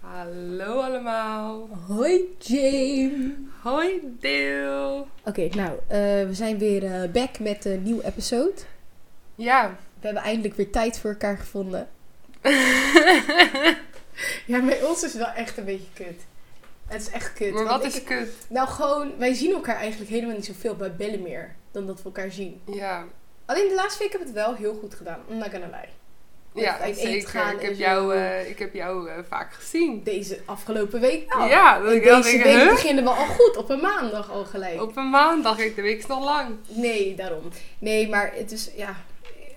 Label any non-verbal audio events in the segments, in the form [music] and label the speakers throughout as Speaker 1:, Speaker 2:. Speaker 1: Hallo allemaal.
Speaker 2: Hoi Jane!
Speaker 1: Hoi Deel.
Speaker 2: Oké, nou, eh, we zijn weer eh, back met een nieuw episode.
Speaker 1: Ja.
Speaker 2: We hebben eindelijk weer tijd voor elkaar gevonden.
Speaker 3: Ja, bij ons is het wel echt een beetje kut. Het is echt kut.
Speaker 1: maar
Speaker 3: want
Speaker 1: wat is
Speaker 3: ik-
Speaker 1: kut?
Speaker 3: Nou, gewoon, wij zien elkaar eigenlijk helemaal niet zoveel bij bellen meer dan dat we elkaar zien.
Speaker 1: Ja.
Speaker 3: Alleen de laatste week heb ik het wel heel goed gedaan. I'm not gonna lie. Met
Speaker 1: Ja,
Speaker 3: uit eten
Speaker 1: zeker.
Speaker 3: gaan
Speaker 1: Ik
Speaker 3: en
Speaker 1: heb
Speaker 3: zo.
Speaker 1: jou, eh, ik heb jou eh, vaak gezien.
Speaker 3: Deze afgelopen week wel.
Speaker 1: ja, dat
Speaker 3: En
Speaker 1: ik wel
Speaker 3: Nou, deze
Speaker 1: denk,
Speaker 3: week
Speaker 1: huh?
Speaker 3: beginnen we al goed, op een maandag al gelijk.
Speaker 1: Op een maandag, ik de week is nog lang.
Speaker 3: Nee, daarom. Nee, maar het is, ja...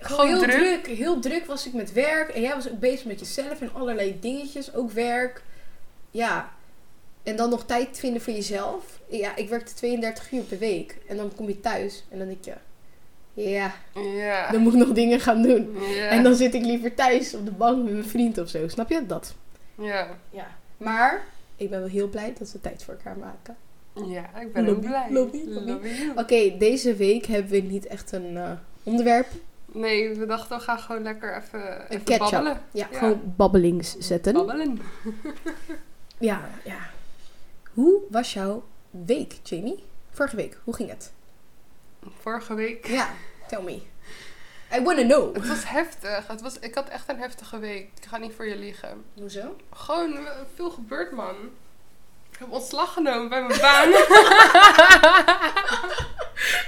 Speaker 1: Gewoon
Speaker 3: Gewoon heel
Speaker 1: druk.
Speaker 3: druk. Heel druk was ik met werk. En jij was ook bezig met jezelf en allerlei dingetjes. Ook werk. Ja. En dan nog tijd vinden voor jezelf. Ja, ik werkte 32 uur per week. En dan kom je thuis en dan denk je... Ja,
Speaker 1: Ja.
Speaker 3: dan moet ik nog dingen gaan doen.
Speaker 1: Ja.
Speaker 3: En dan zit ik liever thuis op de bank met mijn vriend of zo. Snap je? Dat.
Speaker 1: ja.
Speaker 3: Ja. Maar ik ben wel heel blij dat we tijd voor elkaar maken.
Speaker 1: Ja, ik ben ook
Speaker 2: Lobby,
Speaker 1: blij.
Speaker 2: lobby, lobby.
Speaker 1: Love you.
Speaker 3: Oké, deze week hebben we niet echt een eh, onderwerp.
Speaker 1: Nee, we dachten we gaan gewoon lekker even, even
Speaker 3: catch-up.
Speaker 1: babbelen.
Speaker 3: Ja,
Speaker 1: Ja.
Speaker 3: gewoon babbelings zetten.
Speaker 1: Babbelen.
Speaker 3: Ja, ja. Hoe was jouw week, Jamie? Vorige week, hoe ging het?
Speaker 1: Vorige week.
Speaker 3: Ja, tell me. I wanna know.
Speaker 1: Het was heftig. Het was, ik had echt een heftige week. Ik ga niet voor je liegen.
Speaker 3: Hoezo?
Speaker 1: Gewoon eh, veel gebeurd, man. Ik heb ontslag genomen bij mijn baan.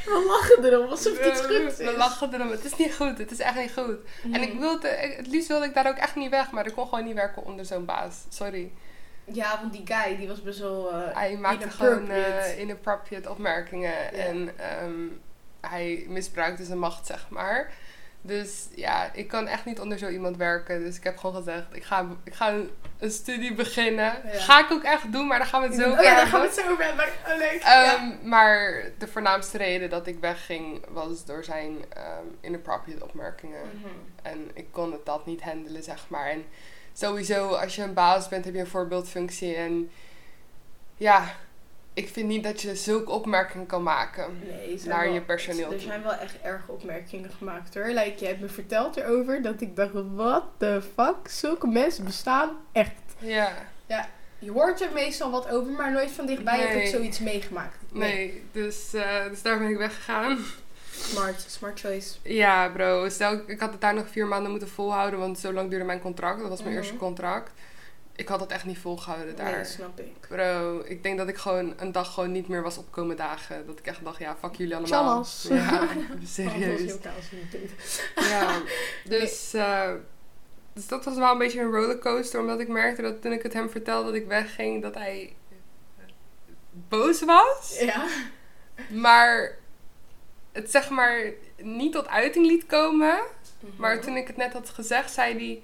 Speaker 3: We lachen erom [laughs] alsof het iets
Speaker 1: We-
Speaker 3: goed
Speaker 1: Eh, We
Speaker 3: is.
Speaker 1: lachen erom. Het is niet goed. Het is echt niet goed. En ik wilde, ik- het liefst wilde ik daar ook echt niet weg, maar ik kon gewoon niet werken onder zo'n baas. Sorry.
Speaker 3: Ja, want die guy, die was best wel... eh,
Speaker 1: Hij maakte gewoon
Speaker 3: Inappropriate.
Speaker 1: eh inappropriate opmerkingen en ehm, hij misbruikte zijn macht, zeg maar. Dus ja, ik kan echt niet onder zo iemand werken. Dus ik heb gewoon gezegd, ik ga, ik ga een, een studie beginnen.
Speaker 3: Ja.
Speaker 1: Ga ik ook echt doen, maar daar gaan we het zo
Speaker 3: Oh
Speaker 1: over
Speaker 3: ja, daar
Speaker 1: hebben.
Speaker 3: gaan we het zo over hebben. Oh, leuk. ja.
Speaker 1: Ehm, Maar de voornaamste reden dat ik wegging was door zijn ehm inappropriate opmerkingen.
Speaker 3: Mm.
Speaker 1: En ik kon het dat niet handelen, zeg maar. En sowieso, als je een baas bent, heb je een voorbeeldfunctie. En ja, ik vind niet dat je zulke opmerkingen kan maken.
Speaker 3: Nee, er zijn
Speaker 1: Naar
Speaker 3: wel-
Speaker 1: je personeel
Speaker 3: Er
Speaker 1: toe.
Speaker 3: zijn wel echt erge opmerkingen gemaakt hoor. Like, je hebt me verteld erover dat ik dacht, what the fuck? Zulke mensen bestaan echt.
Speaker 1: Ja,
Speaker 3: Je hoort er meestal wat over, maar nooit van dichtbij heb
Speaker 1: Nee.
Speaker 3: ik zoiets meegemaakt.
Speaker 1: nee. Dus, eh, dus daar ben ik weggegaan.
Speaker 3: Smart, smart choice.
Speaker 1: Ja, bro. Stel, ik- ik had het daar nog vier maanden moeten volhouden, want zo lang duurde mijn contract. Dat was mijn
Speaker 3: Mhm.
Speaker 1: eerste contract. Ik had dat echt niet volgehouden daar.
Speaker 3: Nee, snap ik.
Speaker 1: Bro, ik denk dat ik gewoon een dag gewoon niet meer was opkomen dagen. Dat ik echt dacht, ja, fuck jullie allemaal.
Speaker 3: Tjallas. [laughs]
Speaker 1: Ja,
Speaker 3: Anders
Speaker 1: serieus.
Speaker 3: heel kaal als je het doet. [laughs]
Speaker 1: Ja, dus, eh, dus dat was wel een beetje een rollercoaster. Omdat ik merkte dat toen ik het hem vertelde dat ik wegging, dat hij eh, boos was.
Speaker 3: Ja.
Speaker 1: Maar het zeg maar niet tot uiting liet komen. Maar toen ik het net had gezegd, zei hij...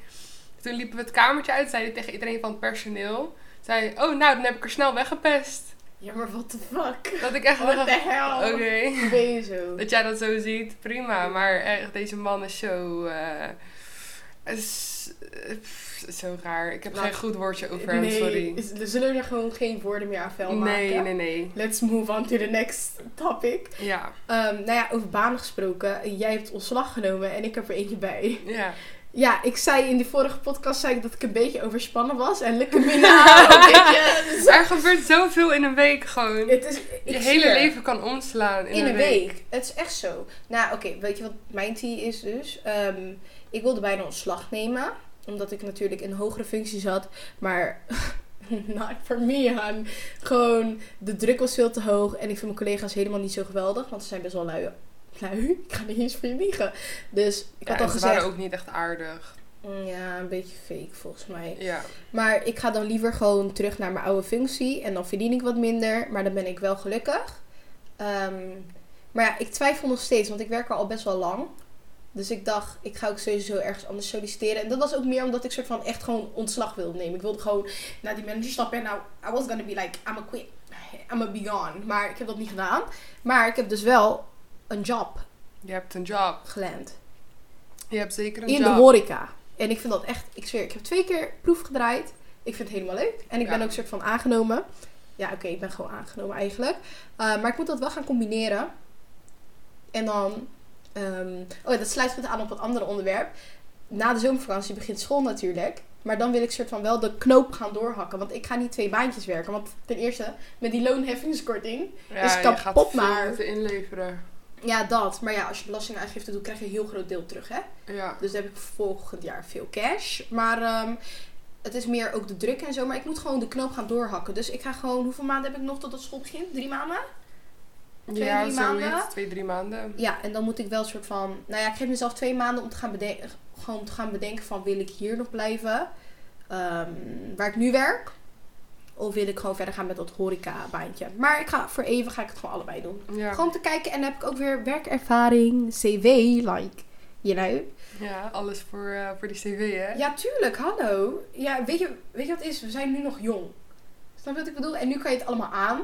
Speaker 1: Toen liepen we het kamertje uit, zei hij tegen iedereen van het personeel... Zei hij, oh nou, dan heb ik er snel weggepest.
Speaker 3: Ja, maar what the
Speaker 1: [laughs]
Speaker 3: fuck?
Speaker 1: Dat ik echt
Speaker 3: What the
Speaker 1: dacht,
Speaker 3: hell?
Speaker 1: oké.
Speaker 3: Ben je zo?
Speaker 1: Dat jij dat zo ziet, prima. Maar echt, deze man is zo... eh, is, eh, pff, zo raar. Ik heb
Speaker 3: Nou,
Speaker 1: geen goed woordje over hem,
Speaker 3: Nee,
Speaker 1: sorry.
Speaker 3: is- er zullen er gewoon geen woorden meer aan vuil maken.
Speaker 1: Nee, nee, nee.
Speaker 3: Let's move on to the next topic.
Speaker 1: Ja,
Speaker 3: Ehm, nou ja, over banen gesproken. Jij hebt ontslag genomen en ik heb er eentje bij.
Speaker 1: ja.
Speaker 3: Ja, ik zei in die vorige podcast zei ik dat ik een beetje overspannen was. En lekker
Speaker 1: [laughs]
Speaker 3: minnaar, een beetje... nou? zo-
Speaker 1: Er gebeurt zoveel in een week gewoon.
Speaker 3: Het is, ik
Speaker 1: Je hele
Speaker 3: zweer.
Speaker 1: leven kan omslaan in,
Speaker 3: In, een week. Het is echt zo. Nou, oké, weet je wat mijn tea is dus? Ehm, ik wilde bijna ontslag nemen. Omdat ik natuurlijk in hogere functie zat. Maar [laughs] not for me, han. Gewoon, de druk was veel te hoog. En ik vind mijn collega's helemaal niet zo geweldig. Want ze zijn best wel lui. Lui? [laughs] Ik ga niet eens voor je liegen. Dus ik
Speaker 1: Ja,
Speaker 3: had
Speaker 1: en
Speaker 3: al
Speaker 1: ze
Speaker 3: gezegd...
Speaker 1: waren ook niet echt aardig.
Speaker 3: "Mm, Ja, een beetje fake volgens mij.
Speaker 1: Ja,
Speaker 3: Maar ik ga dan liever gewoon terug naar mijn oude functie. En dan verdien ik wat minder. Maar dan ben ik wel gelukkig. Ehm, maar ja, ik twijfel nog steeds. Want ik werk er al best wel lang. Dus ik dacht, ik ga ook sowieso ergens anders solliciteren. En dat was ook meer omdat ik soort van echt gewoon ontslag wilde nemen. Ik wilde gewoon naar die manager stappen. En nou, I was gonna be like, I'm a quit. I'm a be gone. Maar ik heb dat niet gedaan. Maar ik heb dus wel een job
Speaker 1: je hebt een job.
Speaker 3: geland
Speaker 1: Je hebt zeker een
Speaker 3: in
Speaker 1: job.
Speaker 3: de horeca. En ik vind dat echt, ik zweer, ik heb twee keer proef gedraaid. Ik vind het helemaal leuk. En ik
Speaker 1: Ja.
Speaker 3: ben ook soort van aangenomen. Ja, oké, ik ben gewoon aangenomen eigenlijk. Uh, maar ik moet dat wel gaan combineren. En dan, ehm, oh ja, dat sluit goed aan op het andere onderwerp. Na de zomervakantie begint school natuurlijk. Maar dan wil ik soort van wel de knoop gaan doorhakken. Want ik ga niet twee baantjes werken. Want ten eerste, met die loonheffingskorting.
Speaker 1: Ja,
Speaker 3: Is
Speaker 1: je
Speaker 3: kapot
Speaker 1: gaat veel
Speaker 3: maar.
Speaker 1: moeten inleveren.
Speaker 3: Ja, dat. Maar ja, als je belastingaangifte doet, krijg je een heel groot deel terug, hè?
Speaker 1: Ja.
Speaker 3: Dus dan heb ik volgend jaar veel cash. Maar ehm, het is meer ook de druk en zo. Maar ik moet gewoon de knoop gaan doorhakken. Dus ik ga gewoon... Hoeveel maanden heb ik nog tot het school begint? Drie maanden? Twee,
Speaker 1: ja,
Speaker 3: drie
Speaker 1: zoiets.
Speaker 3: maanden?
Speaker 1: Twee, drie maanden.
Speaker 3: Ja, en dan moet ik wel een soort van... Nou ja, ik geef mezelf twee maanden om te gaan bedenken... Gewoon om te gaan bedenken van... Wil ik hier nog blijven? Ehm, waar ik nu werk? Of wil ik gewoon verder gaan met dat horeca-baantje? Maar ik ga, voor even ga ik het gewoon allebei doen.
Speaker 1: Ja.
Speaker 3: Gewoon om te kijken. En dan heb ik ook weer werkervaring. CV, like. You know?
Speaker 1: ja, alles voor, eh, voor die cv, hè?
Speaker 3: Ja, tuurlijk, hallo. Ja, weet je, weet je wat het is? We zijn nu nog jong. Snap je wat ik bedoel? En nu kan je het allemaal aan.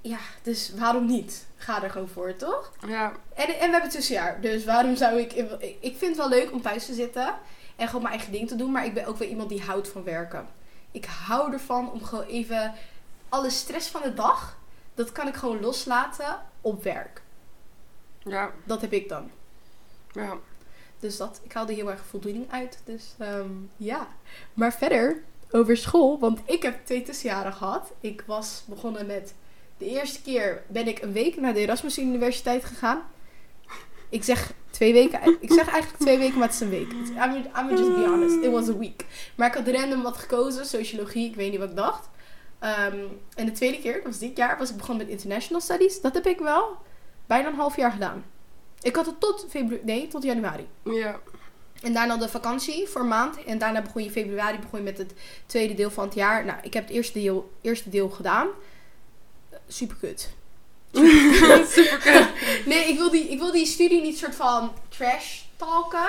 Speaker 3: Ja, dus waarom niet? Ga er gewoon voor, toch?
Speaker 1: Ja,
Speaker 3: En, en we hebben het tussenjaar. Dus waarom zou ik... Ik vind het wel leuk om thuis te zitten. En gewoon mijn eigen ding te doen. Maar ik ben ook wel iemand die houdt van werken. Ik hou ervan om gewoon even... Alle stress van de dag... Dat kan ik gewoon loslaten op werk.
Speaker 1: ja,
Speaker 3: Dat heb ik dan.
Speaker 1: ja.
Speaker 3: Dus dat, ik haalde heel erg voldoening uit. Dus ehm, ja. Maar verder over school, want ik heb twee tussenjaren gehad. Ik was begonnen met. De eerste keer ben ik een week naar de Erasmus Universiteit gegaan. Ik zeg twee weken. Ik zeg eigenlijk twee weken, maar het is een week. I'm, I'm just be honest. It was a week. Maar ik had random wat gekozen. Sociologie, ik weet niet wat ik dacht. Ehm, en de tweede keer, dat was dit jaar, was ik begonnen met International Studies. Dat heb ik wel bijna een half jaar gedaan. Ik had het tot februari, nee, tot januari. [laughs]
Speaker 1: Ja, [laughs]
Speaker 3: En daarna de vakantie voor een maand. En daarna begon je in februari begon je met het tweede deel van het jaar. Nou, ik heb het eerste deel, eerste deel gedaan. Eh, Super kut.
Speaker 1: super kut.
Speaker 3: Nee, ik wil, die, ik wil die studie niet soort van trash talken.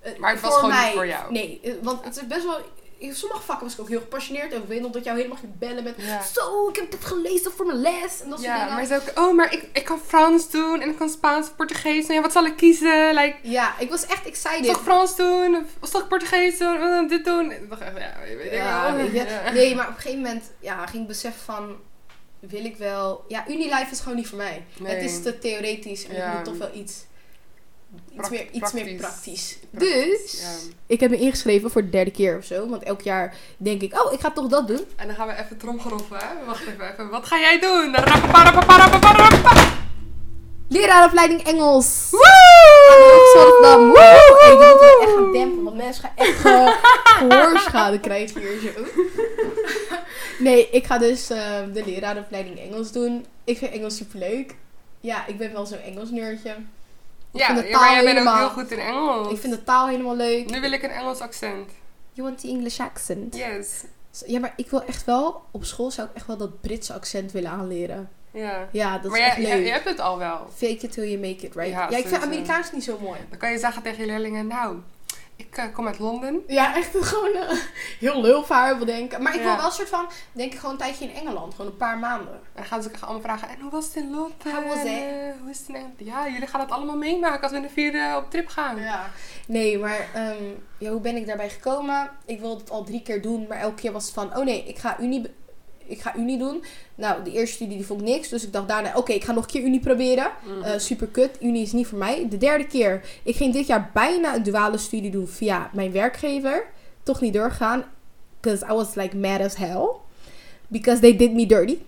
Speaker 3: Eh,
Speaker 1: Maar het was gewoon niet voor jou.
Speaker 3: Nee, eh, want het is best wel... In sommige vakken was ik ook heel gepassioneerd over. Weet omdat jou helemaal ging bellen met...
Speaker 1: Ja.
Speaker 3: Zo, ik heb dit gelezen voor mijn les. En dat soort
Speaker 1: Ja,
Speaker 3: dingen.
Speaker 1: maar ze ook, oh, maar ik, ik kan Frans doen en ik kan Spaans of Portugees doen. Ja, wat zal ik kiezen? Like,
Speaker 3: Ja, ik was echt excited.
Speaker 1: zal ik Frans doen? Of zal ik Portugees doen? Eh, dit doen? Ik dacht echt, ja, weet ik
Speaker 3: Ja,
Speaker 1: wel.
Speaker 3: weet je.
Speaker 1: Ja.
Speaker 3: Nee, maar op een gegeven moment ja, ging ik beseffen van... Wil ik wel... Ja, Unilife is gewoon niet voor mij.
Speaker 1: Nee.
Speaker 3: Het is te theoretisch en
Speaker 1: Ja.
Speaker 3: ik moet toch wel iets... Iets,
Speaker 1: Prak-
Speaker 3: meer, iets meer
Speaker 1: praktisch.
Speaker 3: praktisch.
Speaker 1: Praktisch,
Speaker 3: Dus,
Speaker 1: ja.
Speaker 3: ik heb me ingeschreven voor de derde keer of zo. Want elk jaar denk ik, oh, ik ga toch dat doen.
Speaker 1: En dan gaan we even tromgeroffen, hè? Wacht even, even. Wat ga jij doen? Rapaparapaparapapara.
Speaker 3: Lerarenopleiding Engels.
Speaker 1: Woe!
Speaker 3: Amsterdam. Woe! Hey, ik moet het echt gaan dempen, want mensen gaan echt [laughs] gewoon gehoorschade krijgen hier zo. Nee, ik ga dus eh, de lerarenopleiding Engels doen. Ik vind Engels superleuk. Ja, ik ben wel zo'n Engels nerdje.
Speaker 1: Ja,
Speaker 3: vind de
Speaker 1: ja, maar jij
Speaker 3: taal
Speaker 1: bent ook
Speaker 3: helemaal-
Speaker 1: heel goed in Engels.
Speaker 3: Ik vind de taal helemaal leuk.
Speaker 1: Nu wil ik een Engels accent.
Speaker 3: You want the English accent?
Speaker 1: Yes.
Speaker 3: Ja, maar ik wil echt wel, op school zou ik echt wel dat Britse accent willen aanleren.
Speaker 1: Ja.
Speaker 3: Ja, dat
Speaker 1: Maar
Speaker 3: is echt
Speaker 1: jij, jij,
Speaker 3: leuk.
Speaker 1: jij hebt het al wel.
Speaker 3: Fake it till you make it, right?
Speaker 1: Ja,
Speaker 3: Ja, ik vind
Speaker 1: sowieso.
Speaker 3: Amerikaans niet zo mooi.
Speaker 1: Dan kan je zeggen tegen je leerlingen, nou, ik eh, kom uit Londen.
Speaker 3: Ja, echt gewoon eh, heel lul voor haar wil denken. Maar ik
Speaker 1: Ja.
Speaker 3: wil wel een soort van, denk ik, gewoon een tijdje in Engeland. Gewoon een paar maanden.
Speaker 1: En dan gaan ze ook echt allemaal vragen, en hoe was het in Londen?
Speaker 3: How was it?
Speaker 1: En, eh, hoe is het in Engeland? Ja, jullie gaan het allemaal meemaken als we in de vierde op trip gaan.
Speaker 3: Ja. Nee, maar ehm, ja, hoe ben ik daarbij gekomen? Ik wilde het al drie keer doen, maar elke keer was het van, oh nee, ik ga Unie, be- ik ga Unie doen. Nou, de eerste studie die vond ik niks, dus ik dacht daarna, oké, ik ga nog een keer Unie proberen.
Speaker 1: Mm.
Speaker 3: Eh, super kut, Unie is niet voor mij. De derde keer, ik ging dit jaar bijna een duale studie doen via mijn werkgever. Toch niet doorgaan, because I was like mad as hell. Because they did me dirty.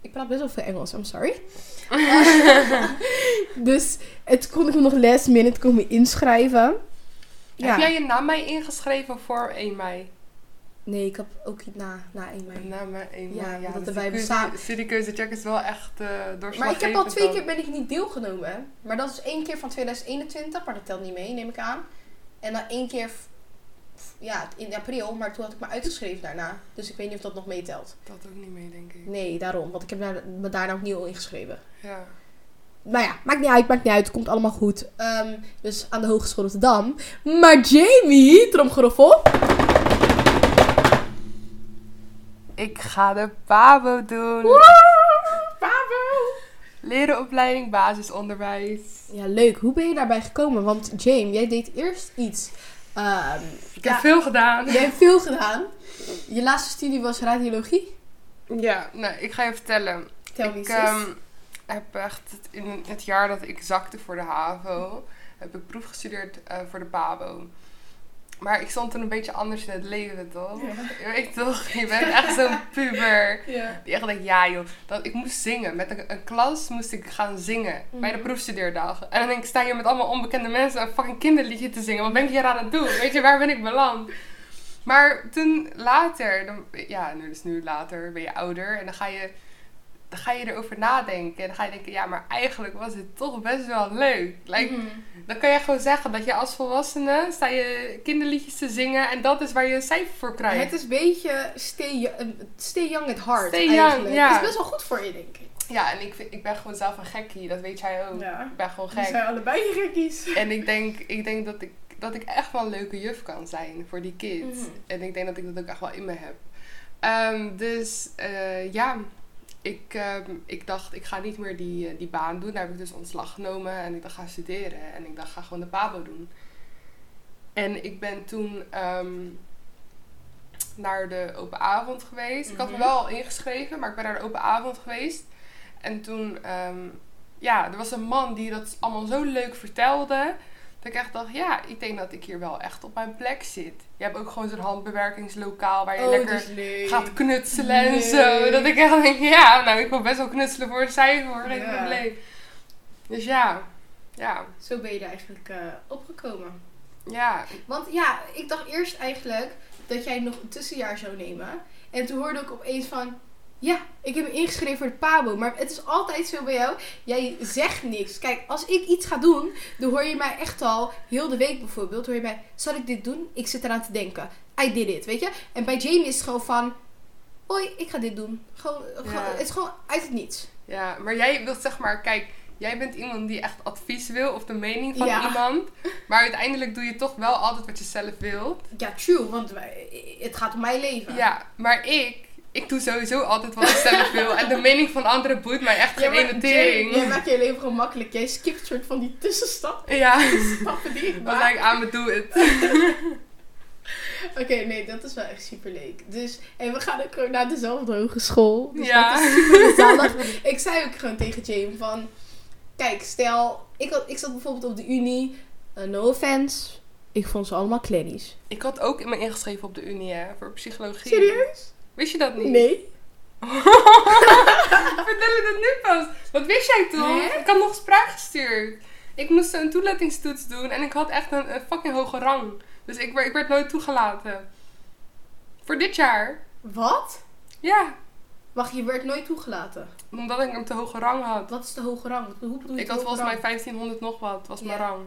Speaker 3: Ik praat best wel veel Engels, I'm sorry. dus het kon ik me nog last minute komen inschrijven.
Speaker 1: Heb jij je na mij ingeschreven voor 1 mei?
Speaker 3: Nee, ik heb ook niet na, na 1 mei.
Speaker 1: Na mij 1
Speaker 3: Ja,
Speaker 1: mei,
Speaker 3: dat
Speaker 1: dus
Speaker 3: erbij
Speaker 1: die keuze-
Speaker 3: bestaan.
Speaker 1: Studiekeuzecheck is wel echt eh doorslaggevend.
Speaker 3: maar ik heb al twee
Speaker 1: dan.
Speaker 3: keer ben ik niet deelgenomen. hè. Maar dat is één keer van 2021, maar dat telt niet mee, neem ik aan. En dan één keer f- f- ja, in april, maar toen had ik me uitgeschreven daarna. Dus ik weet niet of dat nog meetelt.
Speaker 1: Dat ook niet mee, denk ik.
Speaker 3: Nee, daarom. Want ik heb daar- me daarna opnieuw ingeschreven.
Speaker 1: Ja.
Speaker 3: Nou ja, maakt niet uit, maakt niet uit. Komt allemaal goed. Ehm, dus aan de Hogeschool Rotterdam. Maar Jamie, tromgeroffel.
Speaker 1: Ik ga de PABO doen.
Speaker 3: Bravo!
Speaker 1: Leren opleiding basisonderwijs.
Speaker 3: Ja, leuk. Hoe ben je daarbij gekomen? Want James, jij deed eerst iets. ehm,
Speaker 1: Ik
Speaker 3: ja,
Speaker 1: heb veel gedaan.
Speaker 3: Jij hebt veel gedaan. Je laatste studie was radiologie.
Speaker 1: Ja, nou, ik ga je vertellen.
Speaker 3: Tel me
Speaker 1: ik
Speaker 3: sis.
Speaker 1: ehm, heb echt het- in het jaar dat ik zakte voor de HAVO, heb ik proefgestudeerd eh, voor de PABO. Maar ik stond toen een beetje anders in het leven, toch?
Speaker 3: Ja.
Speaker 1: Je weet toch, je bent echt zo'n puber.
Speaker 3: Ja.
Speaker 1: Die echt denkt, ja joh, dat, ik moest zingen. Met een, een klas moest ik gaan zingen bij de
Speaker 3: Mhm.
Speaker 1: proefstudeerdagen. En dan denk ik, sta hier met allemaal onbekende mensen een fucking kinderliedje te zingen. Wat ben ik hier aan het doen? Weet je, waar ben ik beland? Maar toen later, dan, ja, nu dus nu later ben je ouder en dan ga je, dan ga je erover nadenken. En dan ga je denken, ja, maar eigenlijk was het toch best wel leuk. Like,
Speaker 3: Mhm.
Speaker 1: dan kan je gewoon zeggen dat je als volwassene sta je kinderliedjes te zingen en dat is waar je een cijfer voor krijgt.
Speaker 3: Het is een beetje stay, yo- eh, stay young at heart
Speaker 1: Stay young,
Speaker 3: eigenlijk.
Speaker 1: ja.
Speaker 3: Het is best wel goed voor je, denk ik.
Speaker 1: Ja, en ik, vind- ik ben gewoon zelf een gekkie, dat weet jij ook.
Speaker 3: Ja.
Speaker 1: Ik ben gewoon Oh. gek.
Speaker 3: allebei gekkies.
Speaker 1: En ik denk, ik denk dat, ik, dat ik echt wel een leuke juf kan zijn voor die kids.
Speaker 3: Mhm.
Speaker 1: En ik denk dat ik dat ook echt wel in me heb. Ehm, dus eh, ja, ik, ehm, ik dacht, ik ga niet meer die, eh, die baan doen. Daar heb ik dus ontslag genomen en ik dacht, ga studeren. En ik dacht, ga gewoon de PABO doen. En ik ben toen ehm, naar de open avond geweest. Ik had me
Speaker 3: Mhm.
Speaker 1: wel ingeschreven, maar ik ben naar de open avond geweest. En toen, ehm, ja, er was een man die dat allemaal zo leuk vertelde. Dat ik echt dacht, ja, ik denk dat ik hier wel echt op mijn plek zit. Je hebt ook gewoon zo'n handbewerkingslokaal waar je
Speaker 3: Oh,
Speaker 1: lekker
Speaker 3: dat is leuk.
Speaker 1: gaat knutselen en
Speaker 3: Nee.
Speaker 1: zo. Dat ik echt denk, ja, nou, ik wil best wel knutselen voor een cijfer, hoor, geen
Speaker 3: Ja.
Speaker 1: probleem. Dus ja, ja,
Speaker 3: Zo ben je er eigenlijk eh, opgekomen.
Speaker 1: ja.
Speaker 3: Want ja, ik dacht eerst eigenlijk dat jij nog een tussenjaar zou nemen. En toen hoorde ik opeens van... Ja, ik heb me ingeschreven voor de PABO. Maar het is altijd zo bij jou. Jij zegt niks. Kijk, als ik iets ga doen, dan hoor je mij echt al... Heel de week bijvoorbeeld, hoor je mij... Zal ik dit doen? Ik zit eraan te denken. I did it, weet je? En bij Jamie is het gewoon van... Hoi, ik ga dit doen. Gewoon, gewoon- het is gewoon uit het niets.
Speaker 1: Ja, maar jij wilt zeg maar, kijk, jij bent iemand die echt advies wil of de mening van
Speaker 3: Ja.
Speaker 1: iemand. Maar uiteindelijk doe je toch wel altijd wat je zelf wilt.
Speaker 3: Ja, true, want wij- het gaat om mijn leven.
Speaker 1: Ja, maar ik, ik doe sowieso altijd wat ik zelf wil. En de mening van anderen boeit mij echt geen
Speaker 3: maar
Speaker 1: ene
Speaker 3: Jamie, Jij
Speaker 1: tering.
Speaker 3: maakt je leven gewoon makkelijk. Jij skipt soort van die tussenstap.
Speaker 1: Ja,
Speaker 3: Stappen die ik
Speaker 1: dan
Speaker 3: maak.
Speaker 1: denk ik aan me doe het.
Speaker 3: Oké, nee, dat is wel echt super leuk. Dus, en we gaan ook gewoon naar dezelfde hogeschool. Dus
Speaker 1: Ja.
Speaker 3: dat is super
Speaker 1: [laughs]
Speaker 3: gezellig. ik zei ook gewoon tegen Jamie van... Kijk, stel, ik, had, ik zat bijvoorbeeld op de Unie. eh, no offense. Ik vond ze allemaal kleddies.
Speaker 1: Ik had ook in me ingeschreven op de Unie hè, voor psychologie.
Speaker 3: Serieus?
Speaker 1: Wist je dat niet?
Speaker 3: Nee.
Speaker 1: Vertel je dat nu pas? Dat wist jij toch?
Speaker 3: Nee.
Speaker 1: Ik had nog eens vraag gestuurd. Ik moest een toelatingstoets doen en ik had echt een, een fucking hoge rang. Dus ik, werd- ik werd nooit toegelaten. Voor dit jaar?
Speaker 3: Wat?
Speaker 1: Ja,
Speaker 3: Wacht, je werd nooit toegelaten.
Speaker 1: omdat ik een te hoge rang had.
Speaker 3: Wat is de hoge rang? Hoe bedoel je
Speaker 1: Ik
Speaker 3: de
Speaker 1: had
Speaker 3: hoge
Speaker 1: volgens mij
Speaker 3: rang?
Speaker 1: 1500 nog wat, was mijn
Speaker 3: Ja.
Speaker 1: rang.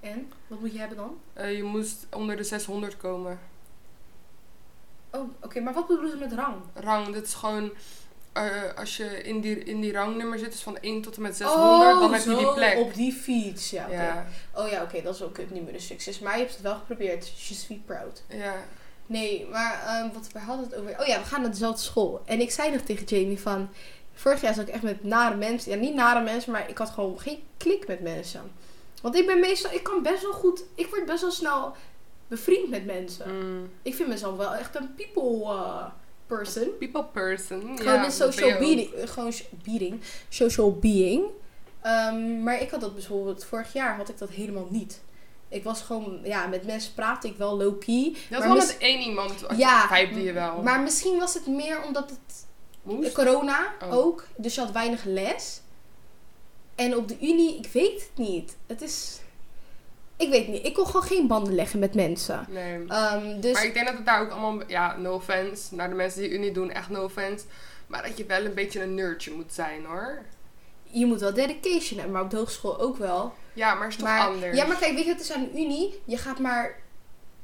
Speaker 3: En? Wat moet je hebben dan?
Speaker 1: Eh, je moest onder de 600 komen.
Speaker 3: Oh, oké, maar wat bedoelen ze met rang?
Speaker 1: Rang, dit is gewoon... eh, als je in die, in die rangnummer zit, dus van 1 tot en met 600, dan heb je die
Speaker 3: Oh, zo,
Speaker 1: plek.
Speaker 3: op die fiets, ja. oké.
Speaker 1: ja,
Speaker 3: Oh ja, oké, dat is ook het nummer de succes. Maar je hebt het wel geprobeerd. Je sweet proud.
Speaker 1: ja.
Speaker 3: Nee, maar ehm, wat, waar hadden we het over? Oh ja, we gaan naar dezelfde school. En ik zei nog tegen Jamie van... Vorig jaar zat ik echt met nare mensen. Ja, niet nare mensen, maar ik had gewoon geen klik met mensen. Want ik ben meestal... Ik kan best wel goed... Ik word best wel snel bevriend met mensen.
Speaker 1: Mm.
Speaker 3: Ik vind mezelf wel echt een people eh, person.
Speaker 1: People person.
Speaker 3: Gewoon
Speaker 1: ja,
Speaker 3: een
Speaker 1: dat ben je
Speaker 3: social
Speaker 1: ook.
Speaker 3: being. eh, Gewoon so- being. Social being. Ehm, maar ik had dat bijvoorbeeld vorig jaar had ik dat helemaal niet. Ik was gewoon, ja, met mensen praatte ik wel low key.
Speaker 1: Je had
Speaker 3: Maar
Speaker 1: wel
Speaker 3: mis-
Speaker 1: met één iemand,
Speaker 3: Ja,
Speaker 1: ja, vijf die je wel
Speaker 3: Maar misschien was het meer omdat het
Speaker 1: Oh. moest.
Speaker 3: corona
Speaker 1: Oh.
Speaker 3: ook. Dus je had weinig les. En op de unie, ik weet het niet. Het is. Ik weet niet. Ik kon gewoon geen banden leggen met mensen.
Speaker 1: Nee.
Speaker 3: Ehm, dus
Speaker 1: Maar ik denk dat het daar ook allemaal, ja, no offense, naar de mensen die Unie doen, echt no offense. Maar dat je wel een beetje een nerdje moet zijn hoor.
Speaker 3: je moet wel dedication hebben, maar op de hogeschool ook wel.
Speaker 1: Ja, maar is toch
Speaker 3: maar,
Speaker 1: anders.
Speaker 3: Ja, maar kijk, weet je, het is aan de unie. Je gaat maar...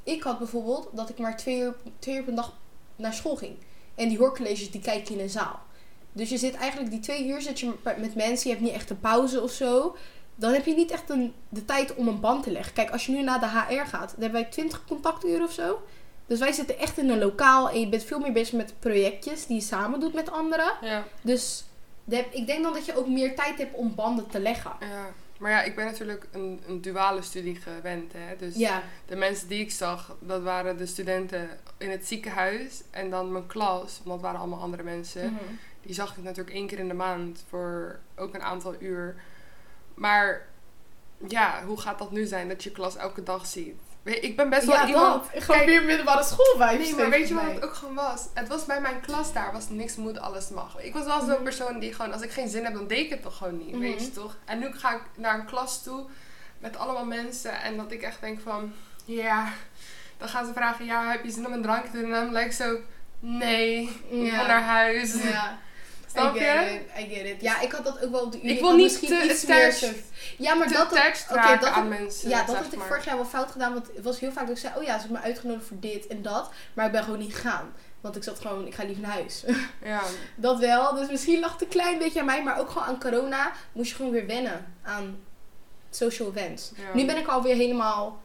Speaker 3: Ik had bijvoorbeeld dat ik maar twee uur, twee uur per dag naar school ging. En die hoorcolleges, die kijk je in een zaal. Dus je zit eigenlijk die twee uur zit je met- met mensen. Je hebt niet echt een pauze of zo. Dan heb je niet echt een, de tijd om een band te leggen. Kijk, als je nu naar de HR gaat, dan hebben wij 20 contacturen of zo. Dus wij zitten echt in een lokaal en je bent veel meer bezig met projectjes die je samen doet met anderen.
Speaker 1: Ja,
Speaker 3: Dus de- ik denk dan dat je ook meer tijd hebt om banden te leggen.
Speaker 1: ja. Maar ja, ik ben natuurlijk een, een duale studie gewend hè. Dus
Speaker 3: Ja.
Speaker 1: de mensen die ik zag, dat waren de studenten in het ziekenhuis. En dan mijn klas, want dat waren allemaal andere mensen.
Speaker 3: Mhm.
Speaker 1: Die zag ik natuurlijk één keer in de maand voor ook een aantal uur. Maar ja, hoe gaat dat nu zijn dat je klas elke dag ziet? Weet- Ik ben best wel
Speaker 3: ja,
Speaker 1: iemand...
Speaker 3: dat. Gewoon
Speaker 1: Kijk-
Speaker 3: weer middelbare schoolvibes.
Speaker 1: Nee, maar weet je wat het ook gewoon was? Het was bij mijn klas daar, was niks moet, alles mag. Ik was wel zo'n
Speaker 3: Mhm.
Speaker 1: persoon die gewoon, als ik geen zin heb, dan deed ik het toch gewoon niet, weet je toch? En nu ga ik naar een klas toe met allemaal mensen en dat ik echt denk van, ja, dan gaan ze vragen, ja, heb je zin om een drankje te doen? En dan lijkt zo, nee, ik wil naar huis. [laughs]
Speaker 3: Ja.
Speaker 1: Snap
Speaker 3: I
Speaker 1: je?
Speaker 3: get it, I get it. Ja, ik had dat ook wel op de unie.
Speaker 1: Ik wil
Speaker 3: had
Speaker 1: niet
Speaker 3: misschien
Speaker 1: te
Speaker 3: iets meer
Speaker 1: attached-
Speaker 3: surf- Ja, maar
Speaker 1: Te
Speaker 3: dat
Speaker 1: attached
Speaker 3: oké,
Speaker 1: raken
Speaker 3: dat
Speaker 1: aan
Speaker 3: had-
Speaker 1: mensen,
Speaker 3: Ja, dat
Speaker 1: zeg
Speaker 3: had ik
Speaker 1: maar.
Speaker 3: vorig jaar wel fout gedaan. Want het was heel vaak dat ik zei: Oh ja, ze hebben me uitgenodigd voor dit en dat. Maar ik ben gewoon niet gegaan. Want ik zat gewoon, ik ga liever naar huis. [laughs]
Speaker 1: Ja,
Speaker 3: dat wel. Dus misschien lag het een klein beetje aan mij. Maar ook gewoon aan corona moest je gewoon weer wennen aan social events.
Speaker 1: Ja.
Speaker 3: Nu ben ik alweer helemaal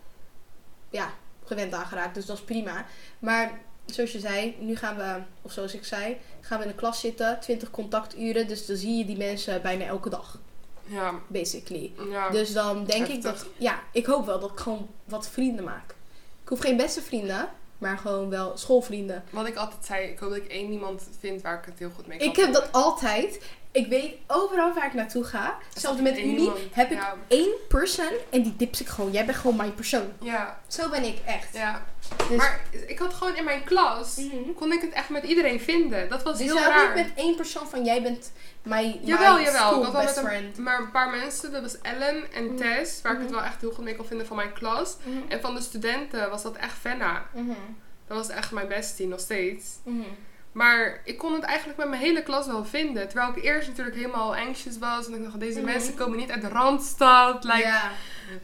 Speaker 3: ja, gewend aangeraakt. Dus dat is prima. Maar zoals je zei, nu gaan we, of zoals ik zei, gaan we in de klas zitten. 20 contacturen. Dus dan zie je die mensen bijna elke dag.
Speaker 1: ja,
Speaker 3: Basically.
Speaker 1: ja.
Speaker 3: Dus dan denk ik
Speaker 1: Oh. Heftig.
Speaker 3: dat. Ja, ik hoop wel dat ik gewoon wat vrienden maak. Ik hoef geen beste vrienden, maar gewoon wel schoolvrienden.
Speaker 1: Wat ik altijd zei, ik hoop dat ik één iemand vind waar ik het heel goed mee kan.
Speaker 3: Ik heb dat altijd. Ik weet overal waar ik naartoe ga. Zelfs met
Speaker 1: één
Speaker 3: Unie
Speaker 1: iemand,
Speaker 3: heb ik
Speaker 1: ja.
Speaker 3: één person en die dips ik gewoon. Jij bent gewoon mijn persoon.
Speaker 1: Ja,
Speaker 3: Zo ben ik echt.
Speaker 1: ja.
Speaker 3: Dus-
Speaker 1: Maar ik had gewoon in mijn klas,
Speaker 3: Mhm.
Speaker 1: kon ik het echt met iedereen vinden. Dat was
Speaker 3: Dus
Speaker 1: heel
Speaker 3: jij
Speaker 1: raar.
Speaker 3: ook niet met één persoon van jij bent mijn,
Speaker 1: Jawel,
Speaker 3: my
Speaker 1: jawel.
Speaker 3: school
Speaker 1: Ik had wel
Speaker 3: best
Speaker 1: met een,
Speaker 3: friend.
Speaker 1: maar een paar mensen. Dat was Ellen en
Speaker 3: Mhm.
Speaker 1: Tess, waar ik het
Speaker 3: Mhm.
Speaker 1: wel echt heel goed mee kon vinden van mijn klas.
Speaker 3: Mhm.
Speaker 1: En van de studenten was dat echt Fenna.
Speaker 3: Mhm.
Speaker 1: Dat was echt mijn bestie, nog steeds.
Speaker 3: Mhm.
Speaker 1: Maar ik kon het eigenlijk met mijn hele klas wel vinden. Terwijl ik eerst natuurlijk helemaal anxious was. En ik dacht, deze
Speaker 3: Mhm.
Speaker 1: mensen komen niet uit de Randstad. Like,
Speaker 3: ja.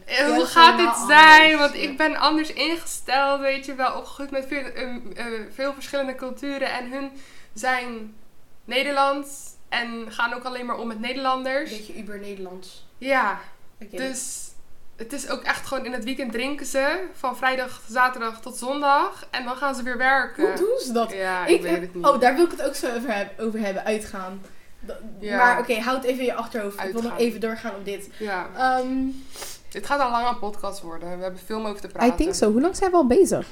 Speaker 1: eh,
Speaker 3: Ja,
Speaker 1: hoe
Speaker 3: dat is
Speaker 1: gaat dit
Speaker 3: helemaal
Speaker 1: zijn?
Speaker 3: anders,
Speaker 1: Want
Speaker 3: ja.
Speaker 1: ik ben anders ingesteld, weet je wel. Opgegroeid met veel, eh, eh, veel verschillende culturen. En hun zijn Nederlands. En gaan ook alleen maar om met
Speaker 3: Een
Speaker 1: Nederlanders.
Speaker 3: beetje uber Nederlands.
Speaker 1: Ja,
Speaker 3: Ik weet het.
Speaker 1: dus het is ook echt gewoon in het weekend drinken ze. Van vrijdag, zaterdag tot zondag. En dan gaan ze weer werken.
Speaker 3: Hoe doen ze dat?
Speaker 1: eh, Ja, ik,
Speaker 3: Ik
Speaker 1: weet
Speaker 3: heb-
Speaker 1: het niet.
Speaker 3: Oh, daar wil ik het ook zo over, heb- over hebben, uitgaan. Dat-
Speaker 1: Ja.
Speaker 3: Maar oké, houd even in je achterhoofd. Ik wil nog
Speaker 1: Uitgaan.
Speaker 3: even doorgaan op dit.
Speaker 1: Ja,
Speaker 3: Ehm,
Speaker 1: dit gaat een lange podcast worden. We hebben veel over te praten.
Speaker 2: I think so. Hoe lang zijn we al bezig?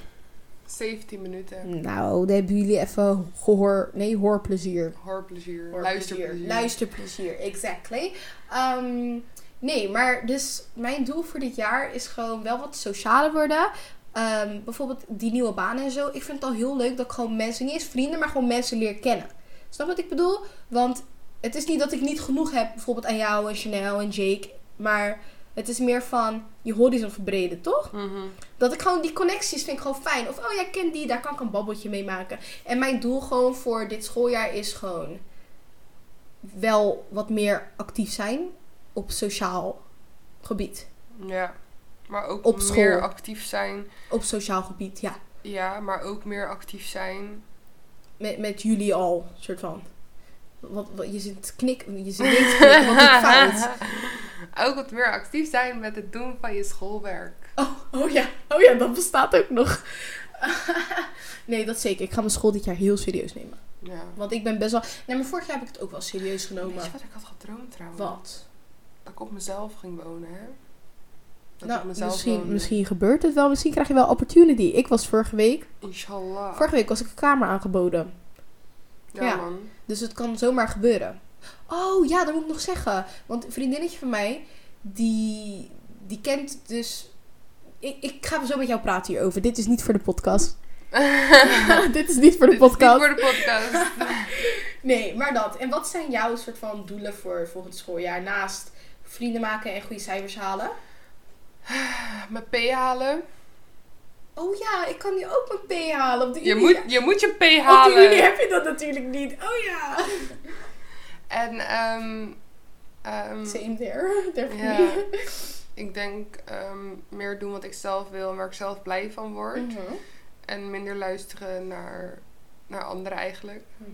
Speaker 1: 17 minuten.
Speaker 2: Nou, dan hebben jullie even gehoor... Nee, hoorplezier.
Speaker 1: Hoorplezier,
Speaker 3: Hoor
Speaker 1: luisterplezier.
Speaker 3: Luisterplezier, exactly. Ehm, nee, maar dus mijn doel voor dit jaar is gewoon wel wat socialer worden. Ehm, bijvoorbeeld die nieuwe baan en zo. Ik vind het al heel leuk dat ik gewoon mensen, niet eens vrienden, maar gewoon mensen leer kennen. Snap wat ik bedoel? Want het is niet dat ik niet genoeg heb, bijvoorbeeld aan jou en Chanel en Jake. Maar het is meer van je horizon verbreden, toch?
Speaker 1: Mhm.
Speaker 3: Dat ik gewoon die connecties vind ik gewoon fijn. Of oh, jij kent die, daar kan ik een babbeltje mee maken. En mijn doel gewoon voor dit schooljaar is gewoon wel wat meer actief zijn op sociaal gebied.
Speaker 1: Ja. Maar ook
Speaker 2: Op
Speaker 1: meer
Speaker 2: school.
Speaker 1: actief zijn.
Speaker 2: Op sociaal gebied, ja.
Speaker 1: Ja, maar ook meer actief zijn.
Speaker 3: Met, met jullie al, soort van. Wat, wat- je zit knik, je zit niet te knikken, want ik
Speaker 1: [laughs]
Speaker 3: fout.
Speaker 1: ook wat meer actief zijn met het doen van je schoolwerk.
Speaker 3: Oh, oh ja, oh ja, dat bestaat ook nog. [laughs] nee, dat zeker. Ik ga mijn school dit jaar heel serieus nemen.
Speaker 1: Ja.
Speaker 3: Want ik ben best wel... Nee, maar vorig jaar heb ik het ook wel serieus
Speaker 1: Weet je
Speaker 3: genomen.
Speaker 1: wat ik had gedroomd trouwens?
Speaker 3: Nou, Wat?
Speaker 1: Dat ik op mezelf ging wonen, hè? Dat ik
Speaker 3: Nou,
Speaker 1: op mezelf
Speaker 2: Misschien,
Speaker 1: woonde.
Speaker 2: misschien gebeurt het wel. Misschien krijg je wel opportunity. Ik was vorige week...
Speaker 1: Inshallah.
Speaker 2: Vorige week was ik een kamer aangeboden.
Speaker 1: ja,
Speaker 3: ja.
Speaker 1: man.
Speaker 3: Dus het kan zomaar gebeuren. Oh ja, dat moet ik nog zeggen. Want een vriendinnetje van mij, die, die kent dus. Ik, ik ga zo met jou praten hierover. Dit is niet voor de
Speaker 1: [laughs]
Speaker 3: podcast. [laughs] Dit is niet voor
Speaker 1: Dit is
Speaker 3: de
Speaker 1: niet
Speaker 2: podcast.
Speaker 1: voor de podcast. [laughs]
Speaker 3: Nee, maar dat. En wat zijn jouw soort van doelen voor volgend schooljaar? Naast vrienden maken en goede cijfers halen?
Speaker 1: Mijn P halen.
Speaker 3: Oh ja, ik kan nu ook mijn P halen. Op de
Speaker 1: Je
Speaker 3: unie-
Speaker 1: moet, je moet je P
Speaker 3: Op de unie
Speaker 1: halen.
Speaker 3: heb je dat natuurlijk niet. Oh ja.
Speaker 1: En ehm ehm,
Speaker 3: Same
Speaker 1: [laughs]
Speaker 3: there. There for
Speaker 1: Ja.
Speaker 3: me.
Speaker 1: ik denk ehm, meer doen wat ik zelf wil en waar ik zelf blij van word.
Speaker 3: Mhm.
Speaker 1: En minder luisteren naar, naar anderen eigenlijk.
Speaker 3: Mhm.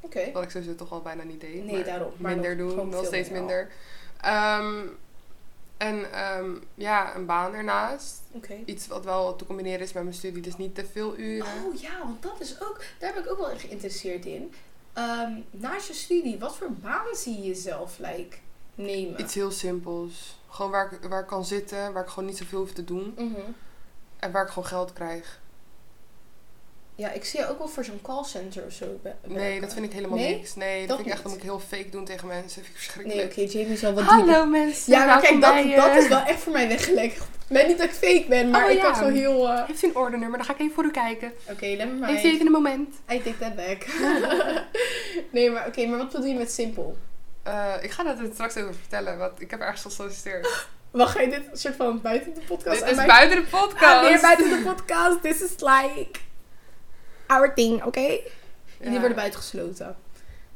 Speaker 3: Oké.
Speaker 1: Wat ik sowieso toch al bijna niet deed.
Speaker 3: Nee,
Speaker 1: maar
Speaker 3: daarom. Maar
Speaker 1: Minder
Speaker 3: nog-
Speaker 1: doen,
Speaker 3: gewoon
Speaker 1: nog
Speaker 3: veel
Speaker 1: steeds
Speaker 3: minder
Speaker 1: minder. Ehm, en ehm, ja, een baan ernaast.
Speaker 3: Oké.
Speaker 1: Iets wat wel te combineren is met mijn studie, dus niet te veel uren.
Speaker 3: Oh ja, want dat is ook, daar ben ik ook wel in geïnteresseerd in. Ehm, naast je studie, wat voor baan zie je jezelf like, nemen?
Speaker 1: Iets heel simpels. Gewoon waar ik, waar ik kan zitten, waar ik gewoon niet zoveel hoef te doen.
Speaker 3: Mhm.
Speaker 1: En waar ik gewoon geld krijg.
Speaker 3: Ja, ik zie je ook wel voor zo'n callcenter of zo. be-
Speaker 1: Nee,
Speaker 3: werken.
Speaker 1: dat vind ik helemaal
Speaker 3: Nee?
Speaker 1: niks. Nee, dat,
Speaker 3: Dat
Speaker 1: vind ik echt, dat
Speaker 3: niet.
Speaker 1: moet ik heel fake doen tegen mensen. Dat vind ik
Speaker 3: Nee,
Speaker 1: verschrikkelijk.
Speaker 3: oké, Jamie zal wat
Speaker 1: Hallo mensen,
Speaker 3: Ja, maar
Speaker 1: welkom
Speaker 3: kijk, dat,
Speaker 1: bij, eh,
Speaker 3: dat is wel echt voor mij weggelegd. Nee, niet dat ik fake ben, maar
Speaker 1: Oh,
Speaker 3: ik
Speaker 1: ja.
Speaker 3: kan zo heel... eh,
Speaker 1: Heeft u een ordernummer? Dan ga ik even voor u kijken.
Speaker 3: Oké, let me maar.
Speaker 1: Heeft u even een moment?
Speaker 3: I take that back. [laughs] nee, maar oké, maar wat bedoel je met simpel?
Speaker 1: Eh, ik ga dat er straks over vertellen, want ik heb ergens gesolliciteerd.
Speaker 3: Wacht, ga je dit soort van buiten de podcast
Speaker 1: Dit is
Speaker 3: aan mij-
Speaker 1: buiten de podcast.
Speaker 3: Ah, weer buiten de podcast. This is like our thing, oké?
Speaker 1: Ja.
Speaker 3: Die worden buitengesloten.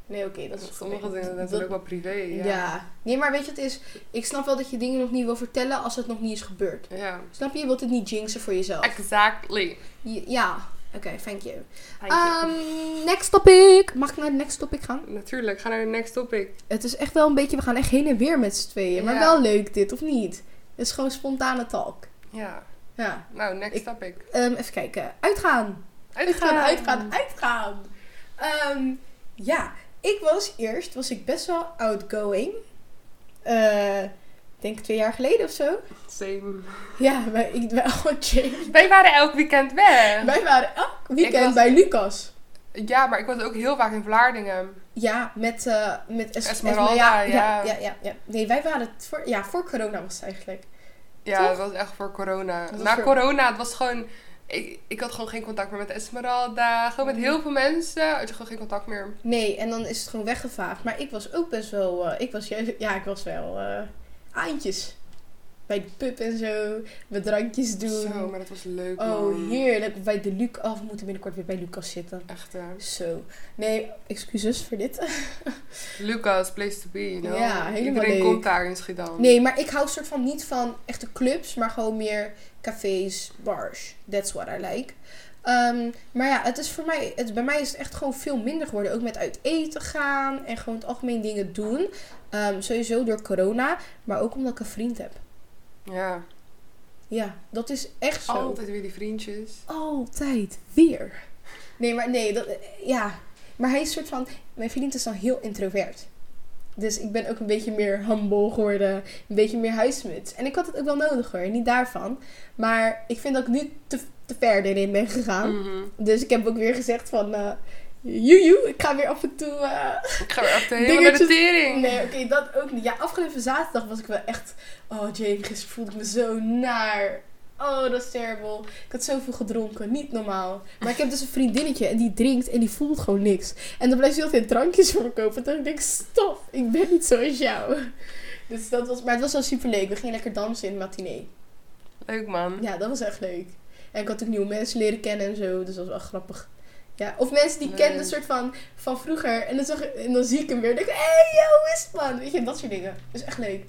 Speaker 3: Nee, oké, dat is
Speaker 1: Sommige
Speaker 3: oké.
Speaker 1: dingen
Speaker 3: Dat-
Speaker 1: natuurlijk wel privé.
Speaker 3: Ja.
Speaker 1: Ja.
Speaker 3: Nee, maar weet je wat het is? Ik snap wel dat je dingen nog niet wil vertellen als het nog niet is gebeurd.
Speaker 1: Ja.
Speaker 3: Snap je? Je wilt het niet jinxen voor jezelf.
Speaker 1: Exactly.
Speaker 3: Je- Ja. Oké, thank you.
Speaker 1: Thank you.
Speaker 3: Ehm, next topic. Mag ik naar het next topic gaan?
Speaker 1: Ehm, Natuurlijk, ga naar de next topic.
Speaker 3: Het is echt wel een beetje, we gaan echt heen en weer met z'n tweeën. Maar
Speaker 1: Ja.
Speaker 3: wel leuk dit, of niet? Het is gewoon spontane talk.
Speaker 1: Ja.
Speaker 3: Ja.
Speaker 1: Nou, next
Speaker 3: Ik-
Speaker 1: topic.
Speaker 3: Ehm, even kijken. Uitgaan. Uitgaan, uitgaan, uitgaan. Ehm, ja, ik was eerst, was ik best wel outgoing. Eh, ik denk twee jaar geleden of zo.
Speaker 1: Same.
Speaker 3: Ja, wij, ik ben gewoon chill.
Speaker 1: Wij waren elk weekend weg.
Speaker 3: Wij waren elk weekend
Speaker 1: was-
Speaker 3: bij Lucas.
Speaker 1: Ja, maar ik was ook heel vaak in Vlaardingen.
Speaker 3: Ja, met, eh met es-
Speaker 1: Esmeralda,
Speaker 3: Esme-
Speaker 1: ja.
Speaker 3: ja, ja, ja. Nee, wij waren het voor, ja, voor corona was het eigenlijk.
Speaker 1: Ja,
Speaker 3: Toch?
Speaker 1: dat was echt voor corona.
Speaker 3: was
Speaker 1: Na
Speaker 3: voor-
Speaker 1: corona, het was gewoon... Ik, ik had gewoon geen contact meer met Esmeralda. Gewoon
Speaker 3: Oh.
Speaker 1: met heel veel mensen. Ik had gewoon geen contact meer.
Speaker 3: Nee, en dan is het gewoon weggevaagd. Maar ik was ook best wel, eh, ik was juist, ja, ik was wel eh aantjes. Bij de pub en zo, met drankjes doen.
Speaker 1: Zo, maar dat was leuk, man.
Speaker 3: Oh, heerlijk. Bij de Luc af moeten binnenkort weer bij Lucas zitten.
Speaker 1: Echt, eh, hè.
Speaker 3: Zo. Nee, excuses voor dit.
Speaker 1: Lucas, place to be, you know.
Speaker 3: Ja, helemaal
Speaker 1: Iedereen
Speaker 3: leuk.
Speaker 1: komt daar in Schiedam.
Speaker 3: Nee, maar ik hou soort van niet van echte clubs, maar gewoon meer cafés, bars. That's what I like. Ehm, maar ja, het is voor mij, het, bij mij is het echt gewoon veel minder geworden. Ook met uit eten gaan en gewoon het algemeen dingen doen. Ehm, sowieso door corona, maar ook omdat ik een vriend heb.
Speaker 1: Ja,
Speaker 3: Ja, dat is echt zo.
Speaker 1: altijd weer die vriendjes.
Speaker 3: altijd weer. Nee, maar nee, dat, ja. Maar hij is soort van. Mijn vriend is dan heel introvert. Dus ik ben ook een beetje meer humble geworden. Een beetje meer huismuts. En ik had het ook wel nodig hoor, niet daarvan. Maar ik vind dat ik nu te, te ver erin ben gegaan.
Speaker 1: Mhm.
Speaker 3: Dus ik heb ook weer gezegd van. eh Joejoe, ik ga weer af en toe. eh,
Speaker 1: Ik ga weer echt helemaal naar de
Speaker 3: Dingetjes-
Speaker 1: tering.
Speaker 3: Nee, oké, dat ook niet. Ja, afgelopen zaterdag was ik wel echt. Oh, Jane, gisteren voelde ik me zo naar. Oh, dat is terrible. Ik had zoveel gedronken. Niet normaal. Maar ik heb dus een vriendinnetje en die drinkt en die voelt gewoon niks. En dan blijft ze altijd drankjes voor me kopen. Toen denk ik, stop, ik ben niet zoals jou. Dus dat was, maar het was wel super leuk. We gingen lekker dansen in de matinee.
Speaker 1: Leuk, man.
Speaker 3: Ja, dat was echt leuk. En ik had ook nieuwe mensen leren kennen en zo. Dus dat was wel grappig. Ja, of mensen die ik
Speaker 1: Leuk.
Speaker 3: kende, een soort van, van vroeger. En dan, zag, ik- en dan zie ik hem weer. En denk ik, hé, hey, yo, hoe is het, man? Weet je, dat soort dingen. Dat is echt leuk.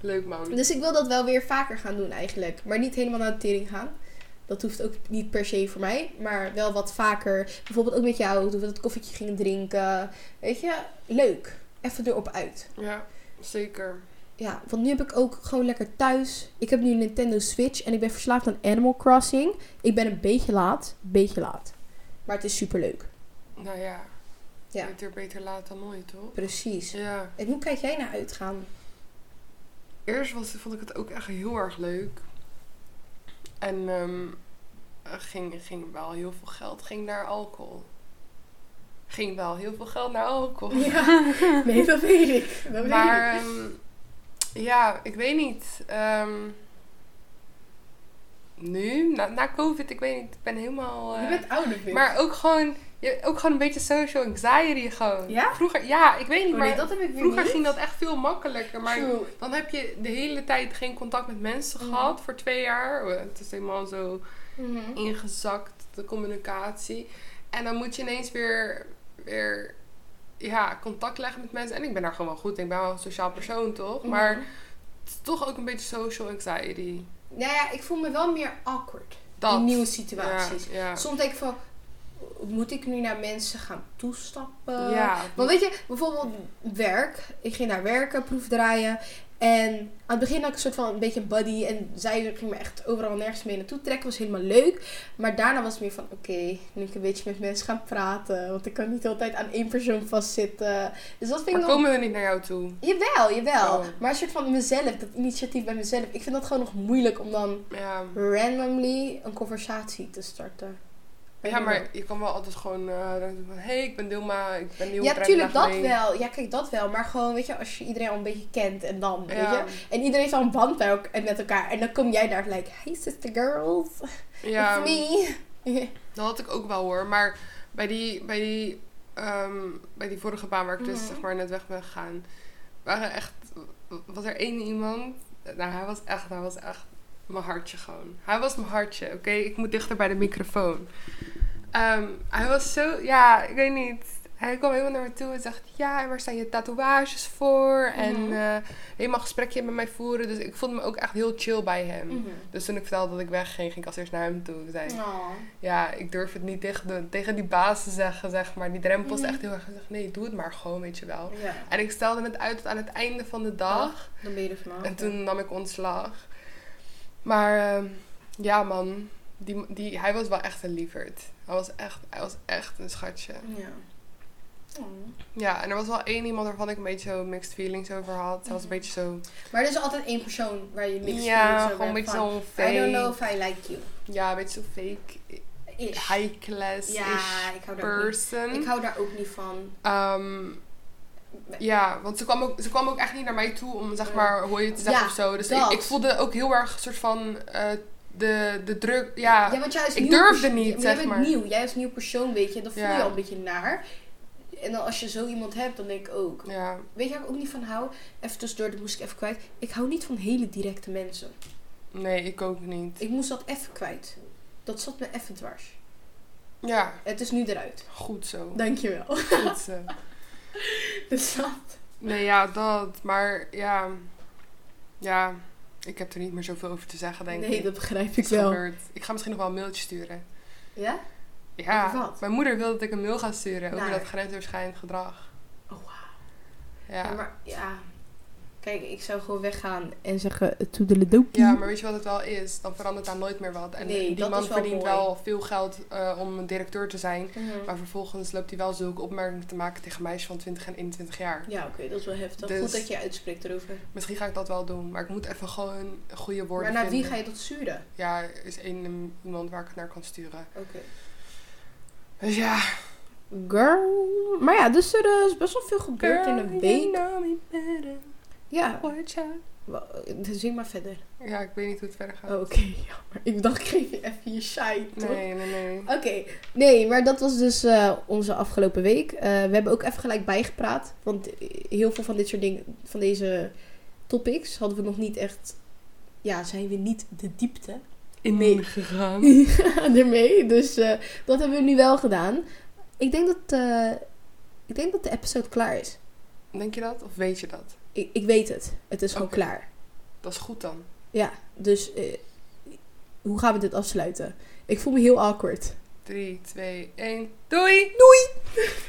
Speaker 1: Leuk, man.
Speaker 3: Dus ik wil dat wel weer vaker gaan doen eigenlijk. Maar niet helemaal naar de tering gaan. Dat hoeft ook niet per se voor mij. Maar wel wat vaker. Bijvoorbeeld ook met jou, toen we dat koffietje gingen drinken. Weet je, leuk. Even erop uit.
Speaker 1: Ja, zeker.
Speaker 3: Ja, want nu heb ik ook gewoon lekker thuis. Ik heb nu een Nintendo Switch en ik ben verslaafd aan Animal Crossing. Ik ben een beetje laat, beetje laat. Maar het is superleuk.
Speaker 1: Nou ja,
Speaker 3: Ja.
Speaker 1: beter beter laat dan nooit, toch?
Speaker 3: Precies.
Speaker 1: Ja.
Speaker 3: En hoe kijk jij naar uitgaan?
Speaker 1: eerst was, vond ik het ook echt heel erg leuk. En ehm, er ging, ging wel heel veel geld ging naar alcohol. Ging wel heel veel geld naar alcohol.
Speaker 3: [laughs] Ja, nee, dat weet ik. Dat weet ik.
Speaker 1: Oh. maar ehm, ja, ik weet niet. ehm, nu, na, na COVID, ik weet niet. Ik ben helemaal... eh,
Speaker 3: Je bent ouder, vind ik.
Speaker 1: maar ook gewoon, je, ook gewoon een beetje social anxiety gewoon.
Speaker 3: Ja?
Speaker 1: Vroeger, ja, ik weet niet.
Speaker 3: Oh,
Speaker 1: maar
Speaker 3: nee, dat heb ik weer
Speaker 1: vroeger
Speaker 3: niet.
Speaker 1: ging dat echt veel makkelijker. Maar
Speaker 3: True.
Speaker 1: dan heb je de hele tijd geen contact met mensen
Speaker 3: Mhm.
Speaker 1: gehad voor twee jaar. Eh, Het is helemaal zo
Speaker 3: Mhm.
Speaker 1: ingezakt, de communicatie. En dan moet je ineens weer, weer ja, contact leggen met mensen. En ik ben daar gewoon wel goed. in. Ik ben wel een sociaal persoon, toch?
Speaker 3: Mhm.
Speaker 1: Maar het is toch ook een beetje social anxiety.
Speaker 3: Nou ja, ik voel me wel meer awkward
Speaker 1: Dat.
Speaker 3: in nieuwe situaties. Dus,
Speaker 1: Ja, ja.
Speaker 3: Soms denk ik van, moet ik nu naar mensen gaan toestappen?
Speaker 1: ja.
Speaker 3: Want weet je, bijvoorbeeld werk. Ik ging naar werken, proefdraaien. En aan het begin had ik een soort van een beetje een buddy. En zij ging me echt overal nergens mee naartoe trekken. was helemaal leuk. Maar daarna was het meer van, oké, nu ik een beetje met mensen gaan praten. Want ik kan niet altijd aan één persoon vastzitten. Dus dat vind
Speaker 1: Maar
Speaker 3: ik nog...
Speaker 1: komen we niet naar jou toe?
Speaker 3: Jawel, jawel.
Speaker 1: Oh.
Speaker 3: Maar een soort van mezelf, dat initiatief bij mezelf. Ik vind dat gewoon nog moeilijk om dan
Speaker 1: Ja.
Speaker 3: randomly een conversatie te starten.
Speaker 1: Ja, maar je kan wel altijd gewoon eh, dan doen van... Hé, hey, ik ben Dilma, ik ben nieuw.
Speaker 3: Ja, tuurlijk, dat wel. Ja, kijk, dat wel. Maar gewoon, weet je, als je iedereen al een beetje kent en dan, weet je.
Speaker 1: Ja,
Speaker 3: En iedereen heeft al een band bij elk- en met elkaar. En dan kom jij daar like, hey sister girls,
Speaker 1: ja
Speaker 3: it's
Speaker 1: [laughs]
Speaker 3: me.
Speaker 1: dat had ik ook wel hoor. Maar bij die, bij die, ehm, bij die vorige baan waar ik dus
Speaker 3: Mhm.
Speaker 1: zeg maar net weg ben gegaan... Waren echt, was er één iemand... Nou, hij was echt, hij was echt mijn hartje gewoon. Hij was mijn hartje, oké? Ik moet dichter bij de microfoon. Ehm, hij was zo, ja, ik weet niet. Hij kwam helemaal naar me toe en zegt... Ja, en waar staan je tatoeages voor? En
Speaker 3: Mhm.
Speaker 1: eh, helemaal gesprekje met mij voeren. Dus ik voelde me ook echt heel chill bij hem.
Speaker 3: Mhm.
Speaker 1: Dus toen ik vertelde dat ik wegging, ging ik als eerst naar hem toe. Ik zei,
Speaker 3: Oh.
Speaker 1: ja, ik durf het niet tegen, de, tegen die baas te zeggen, zeg maar. Die drempel is
Speaker 3: Mhm.
Speaker 1: echt heel erg gezegd, nee, doe het maar gewoon, weet je wel.
Speaker 3: Ja,
Speaker 1: En ik stelde het uit tot aan het einde van de dag.
Speaker 3: dan ben je er vanaf.
Speaker 1: En toen nam ik ontslag. Maar ehm, ja, man. Die, die, hij was wel echt een lieverd. Hij was echt, hij was echt een schatje.
Speaker 3: Ja. Oh.
Speaker 1: Ja, en er was wel één iemand waarvan ik een beetje zo mixed feelings over had. Hij was een
Speaker 3: Mhm.
Speaker 1: beetje zo...
Speaker 3: Maar er is altijd één persoon waar je niks
Speaker 1: ja,
Speaker 3: van
Speaker 1: gewoon een beetje zo
Speaker 3: I don't know
Speaker 1: fake.
Speaker 3: if I like you.
Speaker 1: Ja, een beetje zo fake.
Speaker 3: Ish.
Speaker 1: High class
Speaker 3: Ja, ik hou daar ook niet
Speaker 1: person.
Speaker 3: Ik hou daar ook niet van.
Speaker 1: Ehm, ja, want ze kwam, ook, ze kwam ook echt niet naar mij toe om zeg
Speaker 3: Ja.
Speaker 1: maar hoe je het te zeggen
Speaker 3: Ja,
Speaker 1: of zo. Dus ik,
Speaker 3: dat.
Speaker 1: ik voelde ook heel erg een soort van eh, de, de druk. Ja,
Speaker 3: Ja, want jij is
Speaker 1: ik
Speaker 3: nieuw
Speaker 1: durfde
Speaker 3: perso-
Speaker 1: niet,
Speaker 3: Ja, maar
Speaker 1: zeg
Speaker 3: jij bent
Speaker 1: maar.
Speaker 3: nieuw. Jij is nieuw persoon, weet je. Dan voel je
Speaker 1: Ja.
Speaker 3: al een beetje naar. En dan als je zo iemand hebt, dan denk ik ook.
Speaker 1: ja.
Speaker 3: Weet je waar ik ook niet van hou? Even tussendoor, dat moest ik even kwijt. Ik hou niet van hele directe mensen.
Speaker 1: nee, ik ook niet.
Speaker 3: Ik moest dat even kwijt. Dat zat me even dwars.
Speaker 1: Ja,
Speaker 3: Het is nu eruit.
Speaker 1: goed
Speaker 3: [laughs]
Speaker 1: zo.
Speaker 3: Dankjewel.
Speaker 1: Goed zo.
Speaker 3: Dus dat.
Speaker 1: Nee, ja, dat. Maar ja, ja, ik heb er niet meer zoveel over te zeggen, denk
Speaker 3: Nee,
Speaker 1: ik.
Speaker 3: dat begrijp
Speaker 1: Het
Speaker 3: ik
Speaker 1: is
Speaker 3: wel.
Speaker 1: gebeurd. Ik ga misschien nog wel een mailtje sturen.
Speaker 3: Ja?
Speaker 1: Ja,
Speaker 3: Over wat?
Speaker 1: mijn moeder wil dat ik een mail ga sturen over
Speaker 3: Naar-
Speaker 1: dat grensoverschrijdend gedrag.
Speaker 3: Oh, wauw.
Speaker 1: Ja.
Speaker 3: Ja, maar ja. Kijk, ik zou gewoon weggaan en zeggen eh, toedeledoepie.
Speaker 1: Ja, maar weet je wat het wel is? Dan verandert daar nooit meer wat. En
Speaker 3: Hm. Nee,
Speaker 1: die
Speaker 3: dat
Speaker 1: man
Speaker 3: is wel
Speaker 1: verdient
Speaker 3: mooi.
Speaker 1: wel veel geld eh, om een directeur te zijn.
Speaker 3: Mhm.
Speaker 1: Maar vervolgens loopt hij wel zulke opmerkingen te maken tegen meisjes van 20 en 21 jaar.
Speaker 3: Ja, oké, dat is wel heftig.
Speaker 1: Dus-
Speaker 3: Goed dat je uitspreekt erover.
Speaker 1: Misschien ga ik dat wel doen, maar ik moet even gewoon goede
Speaker 3: Maar
Speaker 1: woorden
Speaker 3: naar wie
Speaker 1: vinden.
Speaker 3: ga je dat sturen?
Speaker 1: Ja, er is één ehm, iemand waar ik het naar kan sturen.
Speaker 3: Oké.
Speaker 1: Dus ja.
Speaker 3: Girl. Maar ja, dus er eh, is best wel veel gebeurd in een week. Ja. Wa- eh, Zing maar verder.
Speaker 1: Ja, ik weet niet hoe het verder gaat.
Speaker 3: Oh, [laughs] Oké, jammer. Ik dacht, ik geef je even je shine, toch?
Speaker 1: Nee, nee, nee.
Speaker 3: Oké, nee, maar dat was dus eh, onze afgelopen week. Eh, we hebben ook even gelijk bijgepraat. Want heel veel van dit soort dingen, van deze topics, hadden we nog niet echt. Ja, zijn we niet de diepte [laughs]
Speaker 1: In
Speaker 3: Nee.
Speaker 1: gegaan.
Speaker 3: ermee. Dus eh, dat hebben we nu wel gedaan. Ik denk dat, eh, ik denk dat de episode klaar is.
Speaker 1: Denk je dat? Of weet je dat?
Speaker 3: Ik, ik weet het. Het is gewoon
Speaker 1: Oké.
Speaker 3: klaar.
Speaker 1: Dat is goed dan.
Speaker 3: Ja, dus eh, hoe gaan we dit afsluiten? Ik voel me heel awkward.
Speaker 1: 3, 2, 1. Doei!
Speaker 3: Doei!